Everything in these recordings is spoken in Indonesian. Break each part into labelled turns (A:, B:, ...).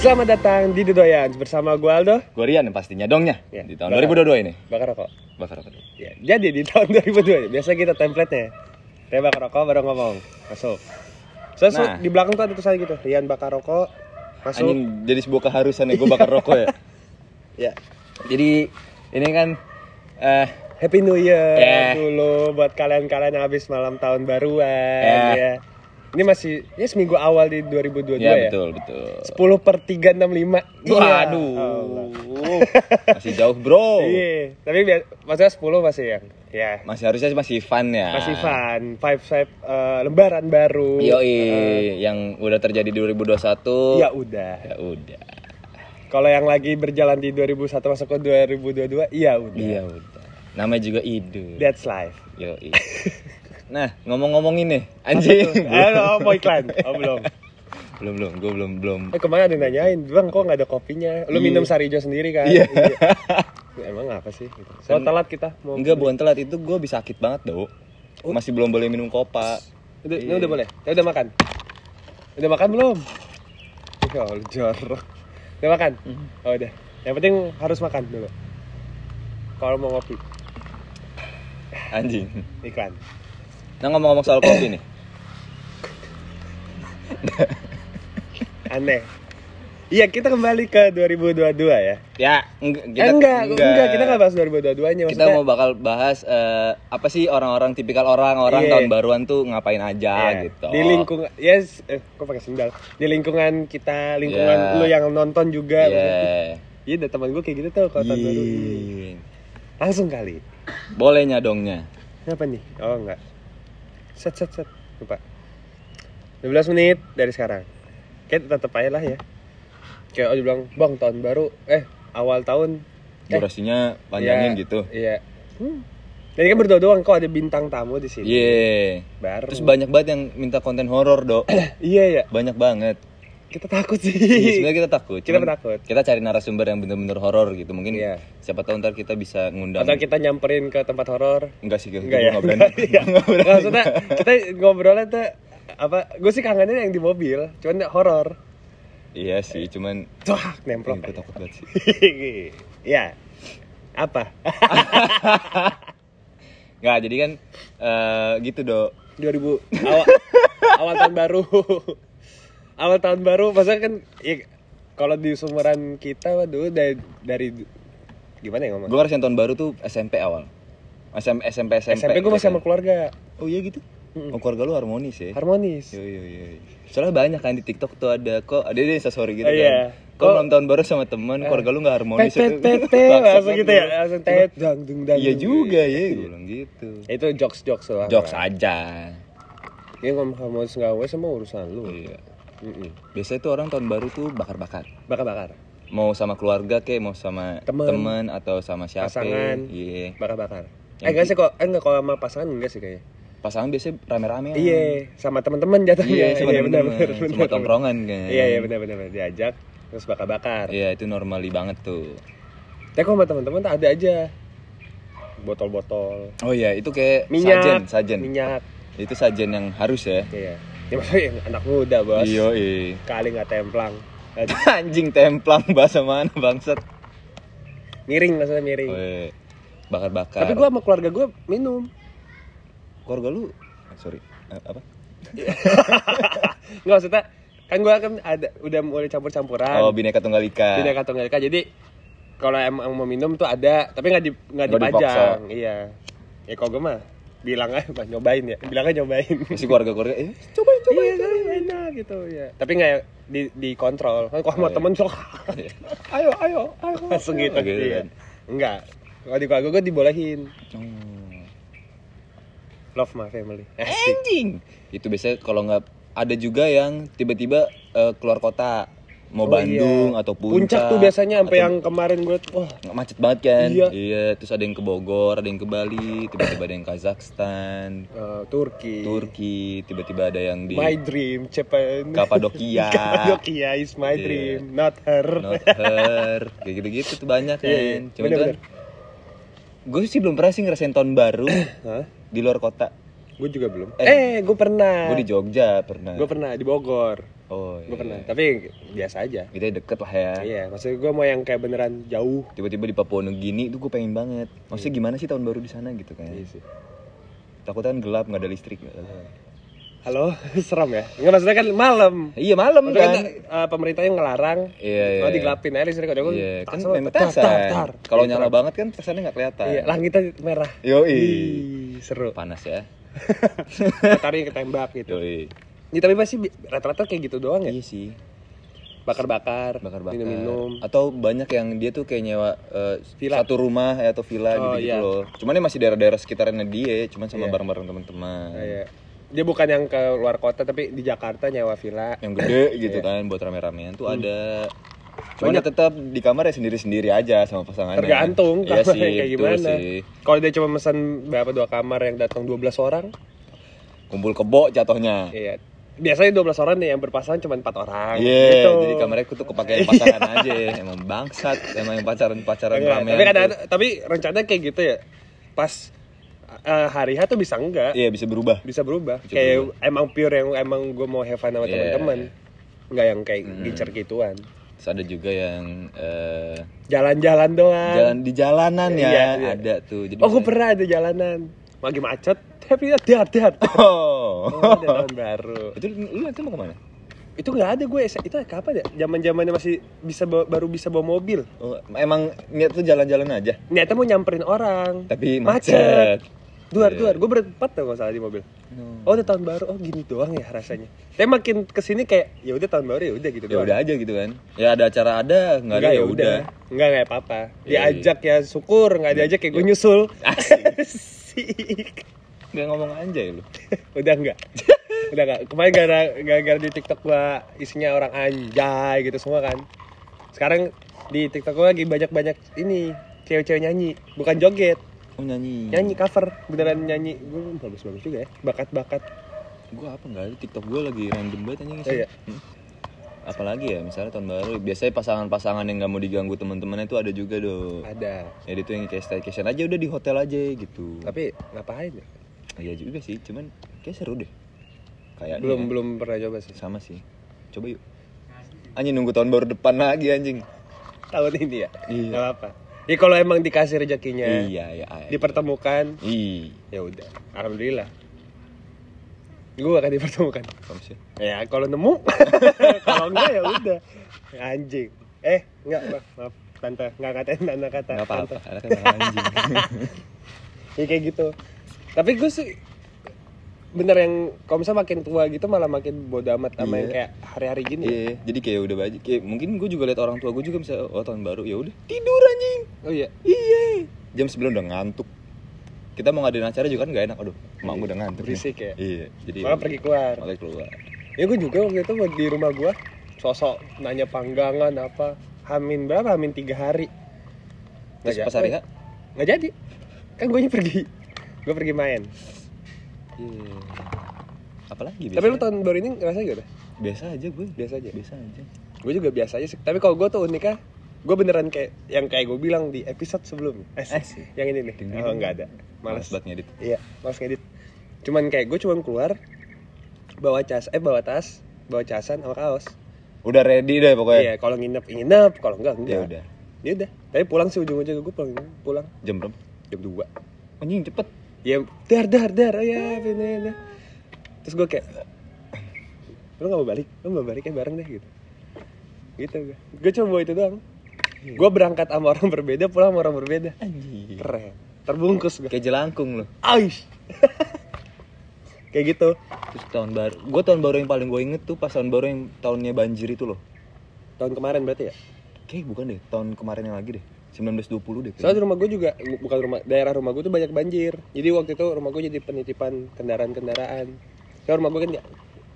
A: Selamat datang di Dodoyans bersama gue Aldo
B: Gue Rian pastinya dongnya
A: Ya,
B: di tahun
A: bakar.
B: 2022 ini.
A: Bakar rokok
B: Bakar apa tuh?
A: Ya, Jadi di tahun 2002 Biasa kita template-nya Saya bakar rokok baru ngomong Masuk So, so,
B: Nah.
A: di belakang tuh ada tulisannya gitu Rian bakar rokok Masuk
B: Anjing jadi sebuah keharusan ya gue bakar rokok ya.
A: Ya
B: Jadi ini kan eh
A: Happy New Year
B: Eh.
A: dulu buat kalian-kalian yang habis malam tahun baruan
B: Eh.
A: ya. Ini masih ya seminggu awal di 2022 ya.
B: ya, betul betul.
A: 10 per 365 Iya.
B: Waduh.
A: Allah.
B: masih jauh bro.
A: Iya, tapi bia- maksudnya 10 masih yang ya
B: Masih harusnya masih fun ya.
A: masih fun, five five eh, lembaran baru.
B: Yoi,
A: Uh.
B: yang udah terjadi di 2021.
A: Ya udah.
B: Ya udah.
A: Kalau yang lagi berjalan di 2001 masuk ke 2022, ya udah.
B: Ya udah. Namanya juga ide.
A: That's life.
B: Yoi. Nah, ngomong-ngomong ini, anjing.
A: Eh, oh, mau iklan? Oh, belum.
B: belum belum, gue belum belum.
A: Eh kemarin ada yang nanyain, bang kok nggak ada kopinya? Lu
B: Iya.
A: minum sari hijau sendiri kan?
B: Iya.
A: Iya. Emang apa sih? Gitu. So telat kita mau.
B: Enggak, bukan telat itu gue bisa sakit banget, Dok.
A: Oh.
B: Masih belum boleh minum kopa.
A: Udah,
B: Iya.
A: ini udah boleh. Ya, udah makan. Udah makan belum? Ya Allah, jorok. Udah makan?
B: Mm-hmm.
A: Oh udah. Yang penting harus makan dulu. Kalau mau ngopi,
B: Anjing.
A: iklan.
B: Nah, ngomong-ngomong soal kopi nih.
A: Aneh. Iya, kita kembali ke 2022 ya.
B: Ya, enggak
A: eh, enggak, enggak, kita nggak bahas 2022-nya
B: Kita
A: maksudnya.
B: mau bakal bahas eh, apa sih orang-orang tipikal orang-orang
A: Iya.
B: tahun baruan tuh ngapain aja
A: Iya,
B: gitu.
A: Di lingkungan yes, eh kok pakai sendal. Di lingkungan kita, lingkungan
B: Iya.
A: lu yang nonton juga. maksudnya.
B: Iya.
A: Iya, ada teman gue kayak gitu tuh kalau tahun baru.
B: Iya.
A: Langsung kali.
B: Bolehnya
A: Eh.
B: dongnya.
A: Kenapa nih? Oh enggak. Set set set. Lupa. 12 menit dari sekarang. Kayak tetap aja lah ya. Kayak oh bilang, "Bang, tahun baru eh awal tahun Eh.
B: Durasinya panjangin
A: Iya,
B: gitu.
A: Iya. Hmm. Jadi kan berdua doang kok ada bintang tamu di sini.
B: Iya.
A: Baru.
B: Terus banyak banget yang minta konten horor, Dok.
A: iya ya.
B: banyak banget.
A: Kita takut sih.
B: Iya, sebenarnya kita takut.
A: kita
B: cuman
A: takut.
B: kita cari narasumber yang bener-bener horor gitu. Mungkin
A: Iya.
B: siapa tahu ntar kita bisa ngundang.
A: Atau kita nyamperin ke tempat horor.
B: Enggak sih,
A: Enggak ya.
B: ya. Enggak berani.
A: Iya.
B: Nggak berani.
A: Maksudnya kita ngobrolnya tuh apa? Gue sih kangennya yang di mobil, cuman horor.
B: Iya sih, cuman
A: Tuh,
B: Ih,
A: nemplok.
B: gue takut banget sih.
A: ya apa
B: Enggak, jadi kan eh, gitu, Dok.
A: 2000 awal awal tahun baru awal tahun baru masa kan ya, kalau di sumuran kita waduh dari, dari gimana ya ngomong
B: Gue ngerasain tahun baru tuh SMP awal. SM, SMP SMP.
A: SMP gue masih sama keluarga
B: Oh iya gitu.
A: Mm-mm.
B: Oh, keluarga lu harmonis
A: Iya.
B: ya.
A: harmonis
B: Yo yo yo. Soalnya banyak kan di TikTok tuh ada kok ada di story gitu
A: Oh, iya.
B: kan. Kok malam tahun baru sama teman, keluarga lu nggak
A: tet
B: harmonis.
A: tet
B: Itu-
A: tet tet
B: Bangsat
A: langsung gitu ya
B: banget lu.
A: langsung tet dang dung dang
B: Iya
A: dung.
B: juga ya, gue bilang gitu.
A: itu jokes jokes lah
B: Jokes aja.
A: ini ngomong harmonis nggak harmonis sama urusan lu
B: Iya.
A: Mm-mm.
B: Biasanya tuh orang tahun baru tuh bakar-bakar.
A: bakar bakar
B: Mau sama keluarga kek, mau sama
A: Temen.
B: temen atau sama siapa.
A: Pasangan.
B: Iya.
A: bakar bakar eh
B: Yang
A: enggak
B: di-
A: sih kok eh enggak kalau sama pasangan enggak sih kayaknya
B: Pasangan biasanya rame-rame.
A: Iya, sama teman-teman jatuhnya.
B: Iya, sama
A: benar,
B: temen-temen,
A: benar,
B: sama
A: benar.
B: tongkrongan kan.
A: Iya, iya benar benar benar. diajak terus bakar-bakar.
B: Iya, itu normali banget tuh.
A: Tapi kalau sama teman-teman tak ada aja botol-botol
B: Oh iya, itu kayak
A: minyak,
B: sajen, sajen.
A: minyak.
B: Itu sajen yang harus ya.
A: Iya. Ya maksudnya yang anak muda, Bos.
B: Iya, iya.
A: Kali nggak templang. Aduh,
B: Anjing templang bahasa mana bangsat.
A: Miring maksudnya miring.
B: Weh, bakar-bakar.
A: Iya. Tapi gua sama keluarga gua minum.
B: keluarga lu eh, sorry eh, apa?
A: Enggak maksudnya kan gua kan ada udah mulai campur-campuran.
B: Oh, Bineka Tunggal Ika.
A: Tidak kata mereka. Jadi kalau emang mau minum tuh ada, tapi nggak di nggak
B: Nggak
A: dipajang. Iya. Ya kalau gue mah bilang aja Bang, nyobain ya. Bilang aja nyobain.
B: Masih keluarga-keluarga eh
A: cobain, cobain, enak gitu ya. Tapi nggak di dikontrol. Kan kalau sama
B: Iya.
A: temen sok
B: Iya.
A: ayo, ayo, ayo. Langsung gitu.
B: Gitu
A: iya.
B: kan.
A: Enggak. Kalau di keluarga gue dibolehin.
B: Oh.
A: Love my family. Asik.
B: Anjing. Itu biasanya kalau nggak ada juga yang tiba-tiba eh, keluar kota
A: Oh,
B: mau Bandung
A: iya.
B: atau puncak.
A: tuh biasanya sampai
B: atau-
A: yang kemarin gue tuh, wah
B: macet banget kan.
A: Iya.
B: terus ada yang ke Bogor, ada yang ke Bali, tiba-tiba ada yang Kazakhstan,
A: eh, Turki.
B: Turki, tiba-tiba ada yang di
A: My dream, Japan.
B: Kapadokia.
A: Kapadokia is my
B: ya. Iya.
A: dream, not her.
B: Not her. Kayak gitu-gitu tuh banyak
A: Iya, iya.
B: kan. Cuman
A: Bener,
B: kan gue sih belum pernah sih ngerasain tahun baru
A: Hah?
B: di luar kota.
A: Gue juga belum.
B: Eh.
A: Eh, gue pernah.
B: Gue di Jogja pernah.
A: Gue pernah di Bogor.
B: Oh.
A: Gue
B: iya.
A: pernah, tapi biasa aja.
B: Itu deket lah ya.
A: Iya, maksudnya gue mau yang kayak beneran jauh.
B: Tiba-tiba di Papua Nugini itu gue pengen banget. Maksudnya gimana sih tahun baru di sana gitu kan?
A: Iya sih. Iya.
B: Takutnya kan gelap nggak ada listrik.
A: Halo, seram ya? Nggak maksudnya kan malam.
B: Iya malam
A: Maksudnya kan
B: kan.
A: eh, pemerintahnya ngelarang.
B: Iya, iya.
A: Mau digelapin aja listrik kalau
B: Iya, kan memang petasan. Kalau nyala banget kan petasannya nggak kelihatan.
A: Iya, langitnya merah.
B: Yoi.
A: Ih, seru.
B: Panas ya.
A: Matahari ketembak gitu.
B: Yoi.
A: Ya, tapi pasti bi- rata-rata kayak gitu doang ya.
B: Iya sih.
A: Bakar-bakar,
B: bakar-bakar
A: minum-minum.
B: atau banyak yang dia tuh kayak nyewa eh,
A: Villa.
B: satu rumah ya, atau villa
A: Oh,
B: gitu,
A: iya.
B: loh cuman ya masih daerah-daerah sekitarnya dia cuman sama
A: Iya.
B: bareng-bareng teman-teman
A: Iya. Dia bukan yang ke luar kota tapi di Jakarta nyewa villa.
B: yang gede gitu
A: Iya.
B: kan buat rame-ramean tuh ada cuman ya tetap di kamar ya sendiri-sendiri aja sama pasangannya
A: Tergantung
B: iya sih,
A: kamarnya kayak
B: betul
A: gimana.
B: sih.
A: Kalau dia cuma pesan berapa dua kamar yang datang 12 orang,
B: kumpul kebo jatuhnya
A: iya. Biasanya 12 orang nih yang berpasangan cuma 4 orang.
B: Iya,
A: gitu.
B: jadi kamarnya aku tuh kepakean pasangan aja emang bangsat emang yang pacaran-pacaran
A: Enggak,
B: ramean
A: Iya, tapi kan kadang
B: tuh.
A: tapi rencananya kayak gitu ya. Pas eh, hari H tuh bisa enggak?
B: iya bisa berubah
A: Bisa berubah.
B: Bisa
A: kayak emang pure yang emang gue mau have fun sama
B: Iya. Hmm.
A: teman-teman. Enggak yang kayak dicer gituan.
B: terus ada juga yang eh,
A: Jalan-jalan doang.
B: jalan di jalanan ya
A: Iya, iya.
B: ada tuh jadi
A: Oh, gue
B: misalnya-
A: pernah ada jalanan. Lagi macet, tapi lihat-lihat. Oh,
B: Oh.
A: ada tahun baru.
B: itu lu nanti mau kemana?
A: Itu nggak ada gue. Itu kapan ya? Zaman zamannya masih bisa bawa- baru bisa bawa mobil.
B: Oh, emang niat tuh jalan-jalan aja,
A: Niatnya mau nyamperin orang.
B: tapi
A: Macet.
B: macet.
A: Duar,
B: Iya.
A: duar. Gue berempat tuh nggak salah di mobil.
B: No.
A: Oh, udah tahun baru. Oh, gini doang ya rasanya. Tapi makin kesini kayak ya udah tahun baru ya udah gitu
B: Ya
A: doang.
B: udah aja gitu kan. Ya ada acara ada, nggak ada
A: Enggak
B: ya udah.
A: Enggak enggak apa-apa.
B: Iya, iya.
A: Diajak ya syukur, enggak diajak ya gue nyusul. Asik.
B: Nggak ngomong anjay lu.
A: udah enggak udah enggak kemarin gara gara di TikTok gua isinya orang anjay gitu semua kan sekarang di TikTok gua lagi banyak banyak ini cewek-cewek nyanyi bukan joget
B: Oh nyanyi.
A: nyanyi cover beneran nyanyi gua bagus bagus juga ya bakat bakat
B: Gua apa nggak ada TikTok gua lagi random banget anjing
A: Oh, iya.
B: Hmm. Apalagi ya misalnya tahun baru biasanya pasangan-pasangan yang nggak mau diganggu teman-temannya tuh ada juga do.
A: ada
B: Ya itu yang kayak staycation aja udah di hotel aja gitu.
A: tapi ngapain ya
B: Iya juga sih, cuman kayak seru deh. Kayaknya.
A: belum belum pernah coba sih
B: sama sih coba yuk anjing nunggu tahun baru depan lagi anjing
A: tahun ini ya
B: Iya.
A: nggak apa ya kalau emang dikasih rezekinya
B: iya ya ay.
A: dipertemukan
B: Ih,
A: ya udah alhamdulillah gua akan dipertemukan
B: kamu sih
A: Ya kalau nemu, kalau enggak ya udah. Anjing. Eh, enggak, maaf, maaf. Tante, enggak katain tante kata.
B: nggak apa-apa
A: Tante.
B: anak emang anjing
A: Ya kayak gitu. Tapi gue sih bener yang kalau misalnya makin tua gitu malah makin bodo amat sama
B: Iya.
A: yang kayak hari-hari gini.
B: iya jadi kayak udah baju kayak mungkin gue juga liat orang tua gue juga bisa oh tahun baru ya udah tidur anjing
A: Oh iya.
B: iya jam 9 udah ngantuk kita mau ngadain acara juga kan gak enak aduh mak gue udah ngantuk nih.
A: Berisik ya.
B: iya jadi
A: Malah pergi keluar.
B: malah keluar
A: Ya gue juga waktu itu di rumah gue sosok nanya panggangan apa. Hamin berapa? Hamin tiga hari.
B: terus
A: Nggak
B: pas hari
A: jadi.
B: H
A: Nggak jadi. Kan gue pergi. Gue pergi main.
B: iya apalagi biasa
A: Tapi lu tahun baru ini ngerasa gimana?
B: biasa aja gue
A: Biasa aja.
B: biasa aja
A: gue juga biasa aja sih tapi kalau gue tuh uniknya gue beneran kayak yang kayak gue bilang di episode sebelumnya eh,
B: Eh, sih.
A: yang ini nih
B: Ding, ding,
A: oh,
B: ding.
A: nggak ada
B: malas
A: males
B: banget ngedit
A: iya males ngedit cuman kayak gue cuman keluar bawa cas eh bawa tas bawa casan sama kaos
B: udah ready deh pokoknya
A: iya kalau nginep nginep kalau enggak
B: ya
A: enggak
B: udah
A: ya udah tapi pulang sih ujung ujungnya gue pulang pulang
B: jam berapa
A: jam 2
B: anjing cepet
A: ya dar dar dar oh ya bener bener. terus gue kayak lu gak mau balik lu mau balik ya bareng deh gitu gitu gue gue cuma bawa itu doang gue berangkat sama orang berbeda pulang sama orang berbeda
B: anjing
A: keren terbungkus gue
B: kayak jelangkung loh
A: aish kayak gitu
B: terus tahun baru gue tahun baru yang paling gue inget tuh pas tahun baru yang tahunnya banjir itu loh
A: tahun kemarin berarti ya
B: kayak bukan deh tahun kemarin yang lagi deh 1920 deh kayaknya.
A: soalnya di rumah gue juga bukan rumah daerah rumah gue tuh banyak banjir jadi waktu itu rumah gue jadi penitipan kendaraan kendaraan soalnya rumah gue kan ya-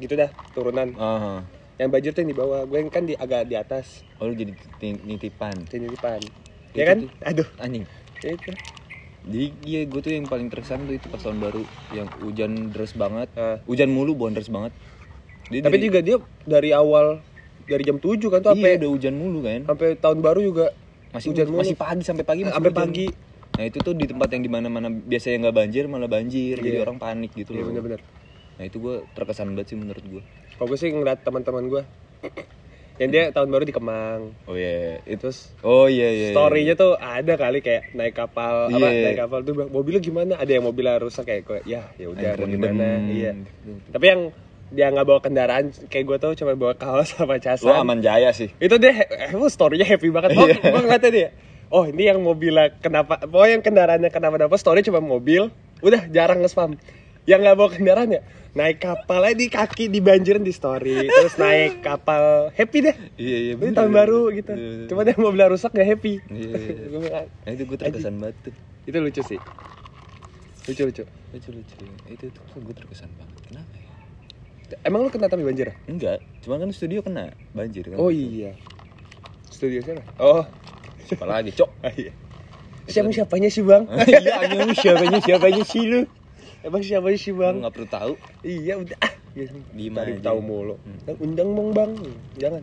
A: gitu dah turunan
B: Aha.
A: yang banjir tuh yang di bawah gue yang kan di agak di atas
B: oh lu jadi ti- nitipan
A: Tinitipan.
B: Itu
A: Ya kan?
B: tuh.
A: Aduh,
B: anjing
A: itu.
B: jadi iya gue tuh yang paling terkesan tuh itu pas tahun baru yang hujan deras banget
A: Ah.
B: hujan mulu bukan deras banget Jadi
A: Tapi
B: dari-
A: juga dia dari awal dari jam 7 kan tuh
B: iya
A: sampai
B: udah hujan mulu kan
A: sampai tahun baru juga
B: masih
A: hujan
B: hujan
A: mulu.
B: masih pagi Iya, sampai pagi masih
A: sampai
B: hujan.
A: pagi.
B: nah itu tuh di tempat yang dimana mana biasanya nggak banjir malah banjir jadi
A: Iya.
B: orang panik gitu
A: Iya
B: loh
A: benar-benar.
B: Nah, nah itu gue terkesan banget sih menurut gue
A: Kalau gue sih ngeliat teman-teman gue yang dia tahun baru di Kemang,
B: oh iya itu
A: terus
B: oh iya iya iya.
A: story-nya tuh ada kali kayak naik kapal apa
B: Iya.
A: naik kapal tuh bilang, mobilnya gimana ada yang mobilnya rusak kayak gue ya ya udah mau
B: Handphone
A: gimana
B: idem.
A: iya tapi yang dia nggak bawa kendaraan kayak gue tuh cuma bawa kaos sama
B: lo
A: casan
B: aman jaya sih
A: itu dia he- emang story-nya happy banget gue
B: Iya.
A: gue ngeliatnya dia oh ini yang mobilnya kenapa oh yang kendaraannya kenapa napa story cuma mobil udah jarang nge-spam yang nggak bawa kendaraan ya naik kapal aja di kaki dibanjirin di story terus naik kapal happy deh
B: iya iya
A: ini tahun baru gitu cuma dia mobilnya rusak gak happy
B: Iya, iya, iya.
A: Gua bilang,
B: nah, itu gue terkesan banget tuh
A: itu lucu sih lucu lucu
B: lucu lucu itu tuh gue terkesan banget kenapa ya
A: emang lu kena tapi banjir ya?
B: enggak cuma kan studio kena banjir kan
A: oh iya studio siapa oh
B: siapa lagi cok
A: ah, iya siapa siapanya sih bang
B: iya anjing lu siapanya
A: siapanya sih lu emang siapanya sih
B: lu
A: bang
B: nggak perlu tahu
A: iya udah ah Iya,
B: Diem
A: tarik
B: aja.
A: tahu mulu
B: Hmm.
A: Dan undang bang bang jangan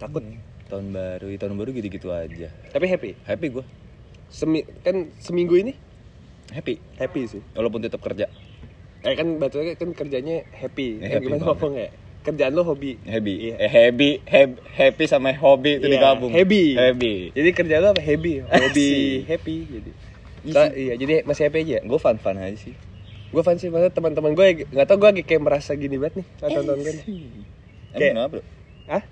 B: takut tahun baru tahun baru gitu gitu aja
A: tapi happy
B: happy gue
A: Semi, kan seminggu ini
B: happy
A: happy sih
B: walaupun tetap kerja
A: eh kan batunya kan kerjanya happy
B: Ya,
A: Kan
B: happy
A: gimana
B: banget.
A: ngomong ya kerjaan lo hobi
B: happy
A: Iya.
B: eh happy heb- happy sama hobi itu
A: Iya,
B: digabung
A: happy.
B: happy
A: jadi kerjaan lo apa happy hobi
B: Asik.
A: happy jadi
B: Iya
A: So,
B: sih.
A: iya jadi masih happy aja
B: gue fun fun aja sih
A: gue fancy banget teman-teman gue nggak tau gue lagi kayak merasa gini banget nih saat nonton kan
B: Iya emang
A: Kayak-
B: kenapa bro
A: ah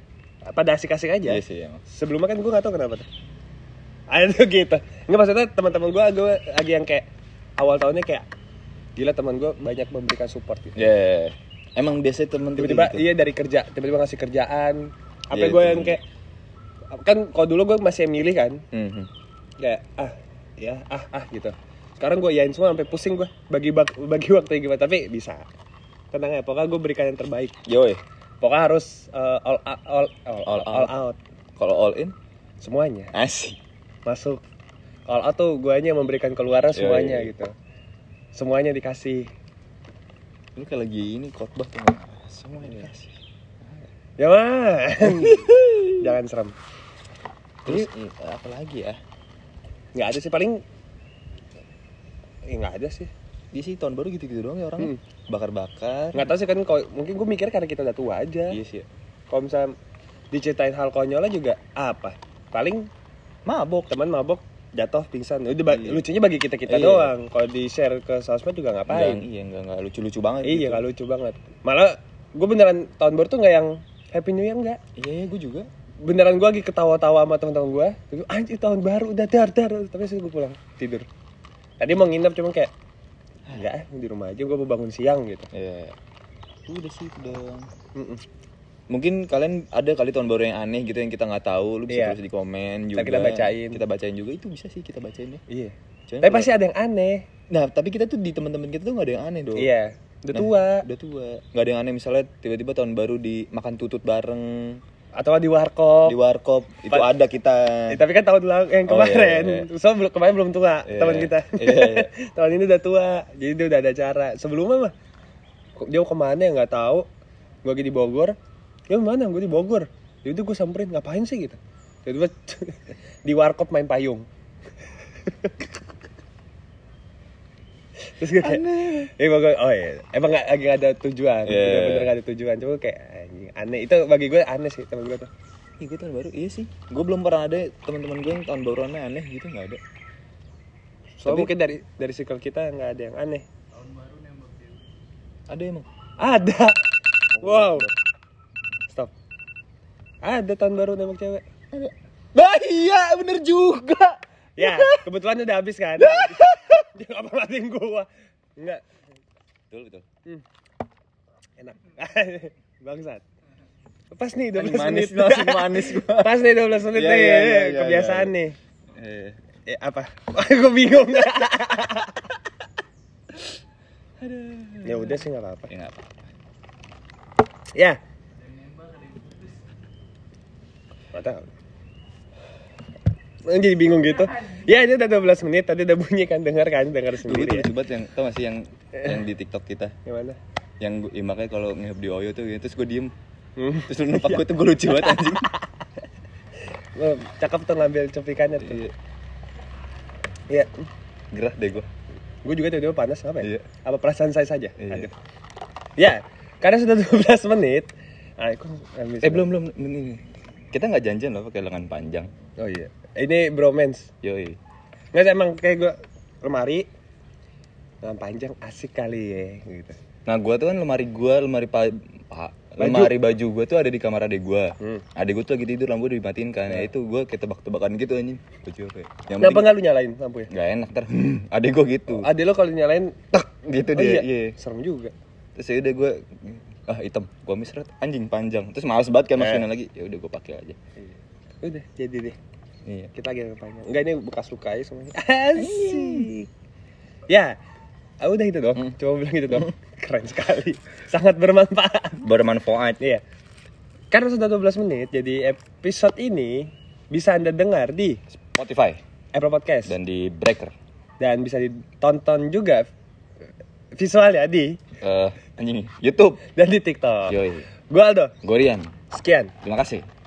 A: pada asik-asik aja
B: iya sih emang
A: sebelumnya kan gue nggak tau kenapa tuh ada tuh gitu nggak maksudnya teman-teman gue gue lagi yang kayak awal tahunnya kayak gila teman gue banyak memberikan support gitu
B: ya emang biasanya temen tuh
A: tiba-tiba
B: gitu.
A: iya dari kerja tiba-tiba ngasih kerjaan apa
B: Iya,
A: gue
B: itu
A: yang kayak kan kalau dulu gue masih milih kan
B: Mhm.
A: kayak ah ya ah ah gitu sekarang gue yain semua sampai pusing gue bagi bak- bagi waktu gimana tapi bisa tenang ya pokoknya gue berikan yang terbaik
B: Yoi,
A: pokoknya harus eh, all, out- all, all,
B: All
A: all
B: out.
A: out
B: kalau all in
A: semuanya
B: asik
A: masuk all out tuh gue yang memberikan keluar semuanya
B: Iya, iya.
A: gitu semuanya dikasih
B: lu kayak lagi ini khotbah tuh Iya. nggak apa-apa. semua ini asik
A: ya man jangan serem
B: terus i- apa lagi ya
A: nggak ada sih paling eh, nggak ada sih
B: dia sih tahun baru gitu-gitu doang ya orangnya bakar-bakar
A: nggak tahu sih kan kalau mungkin gue mikir karena kita udah tua aja
B: iya sih ya.
A: kalau misalnya diceritain hal konyolnya juga apa paling
B: mabok
A: teman mabok jatuh pingsan udah ba-
B: Iya.
A: lucunya bagi kita kita
B: Iya.
A: doang kalau di share ke sosmed juga
B: Enggak,
A: ngapain
B: iya enggak, enggak lucu-lucu banget
A: iya
B: gitu.
A: nggak lucu banget malah gue beneran tahun baru tuh nggak yang happy new year nggak
B: iya iya gue juga
A: beneran gue lagi ketawa-tawa sama teman-teman gue terus anjir tahun baru udah dar dar tapi sih gue pulang tidur tadi mau nginep cuma kayak enggak ah, di rumah aja gue mau bangun siang gitu
B: iya udah sih itu doang
A: Mm-mm.
B: mungkin kalian ada kali tahun baru yang aneh gitu yang kita nggak tahu lu bisa
A: Iya.
B: tulis di komen juga
A: Ntar kita bacain.
B: kita bacain juga itu bisa sih kita bacain ya
A: iya
B: Cuman
A: tapi
B: kalau-
A: pasti ada yang aneh
B: nah tapi kita tuh di teman-teman kita tuh nggak ada yang aneh dong
A: iya udah
B: Nah,
A: tua
B: udah tua nggak ada yang aneh misalnya tiba-tiba tahun baru di makan tutut bareng
A: atau di warkop
B: di warkop itu
A: Pa-
B: ada kita
A: Eh, tapi kan tahun lalu yang
B: Iya. Oh, iya,
A: kemarin,
B: iya,
A: so belum- kemarin belum tua
B: Iya,
A: teman kita.
B: iya, iya.
A: tahun ini udah tua, jadi dia udah ada acara. Sebelumnya mah kok dia kemana ya nggak tahu. Gue lagi di Bogor, ya mana? Gue di Bogor. Jadi gue samperin ngapain sih gitu. Jadi gua di warkop main payung. Terus gue kayak, "Eh, Bogor, oh iya, emang gak, lagi nggak ada tujuan,
B: Iya.
A: bener-bener gak ada tujuan, cuma kayak anjing aneh, itu bagi gue aneh sih temen gue tuh
B: Ih, gue tahun baru iya sih gue belum pernah ada teman-teman gue yang tahun baru aneh aneh gitu nggak ada
A: Soalnya
B: Tapi-
A: mungkin dari dari circle kita nggak ada yang aneh.
B: ada emang
A: Ada. Wow.
B: Akbar.
A: Stop. Ada tahun baru nembak cewek.
B: ada bah iya bener juga
A: Ya, kebetulan udah habis kan. Dia nggak pernah matiin gua. Enggak.
B: betul betul
A: Enak. Bangsat. Pas nih 12 menit.
B: manis langsung manis gua
A: Pas nih 12 menit
B: Iya,
A: nih.
B: iya, iya, iya,
A: Kebiasaan
B: iya.
A: nih.
B: Eh,
A: Eh, apa? Aku bingung. ya udah sih nggak apa-apa.
B: ya nggak apa
A: Ya. Gak tahu. Lu Jadi bingung gitu. Ya ini udah 12 menit tadi udah bunyi kan dengar kan dengar
B: Dulu tuh
A: sendiri. Ya.
B: lucu banget yang tau gak sih yang yang di TikTok kita
A: Gimana?
B: yang gua- ya makanya kalau ngehub di Oyo tuh gitu terus gue diem
A: Hmm.
B: terus lu numpak gue tuh gue lucu banget anjing
A: Lu cakep tuh ngambil cuplikannya tuh.
B: Iya,
A: Iya.
B: gerah deh gue
A: Gue juga tiba-tiba panas apa ya?
B: Iya.
A: Apa perasaan saya saja?
B: Iya.
A: Aduh. Ya, karena sudah 12 menit. Ah, aku ambil
B: Eh belum belum ini. ini. Kita nggak janjian loh pakai lengan panjang.
A: Oh iya. Ini bromance.
B: Yoi.
A: Nggak sih, emang kayak gue lemari lengan panjang asik kali ya gitu.
B: Nah gua tuh kan lemari gua, lemari pa, pa-
A: Baju.
B: lemari baju gua tuh ada di kamar adik gua.
A: Hmm.
B: Adik gua tuh lagi tidur lampu udah dimatiin kan. Ya itu gua kayak tebak-tebakan gitu anjing. Baju apa ya? Yang
A: Kenapa
B: penting
A: nggak lu nyalain ya? lampunya?
B: nggak enak ter. adik gua gitu.
A: Ade lo kalau nyalain
B: Tak gitu
A: oh,
B: dia.
A: iya.
B: iya.
A: Serem juga.
B: Terus ya udah gua ah hitam, gua misret anjing panjang. Terus
A: Eh.
B: males banget kan masukin lagi. Ya udah gua pakai aja.
A: Udah, jadi deh.
B: Iya.
A: Kita lagi ngapain? Enggak ini bekas luka aja semuanya. Asik. Ya. ah, udah itu dong. Coba bilang itu dong. Keren sekali. Sangat bermanfaat.
B: Bermanfaat.
A: Iya. Karena sudah 12 menit, jadi episode ini bisa Anda dengar di
B: Spotify
A: Apple Podcast dan,
B: dan di Breaker.
A: bisa ditonton juga visual ya di
B: Eh anjing YouTube.
A: dan di TikTok.
B: Yoi.
A: Gue Aldo.
B: Gorian.
A: Sekian.
B: Terima kasih.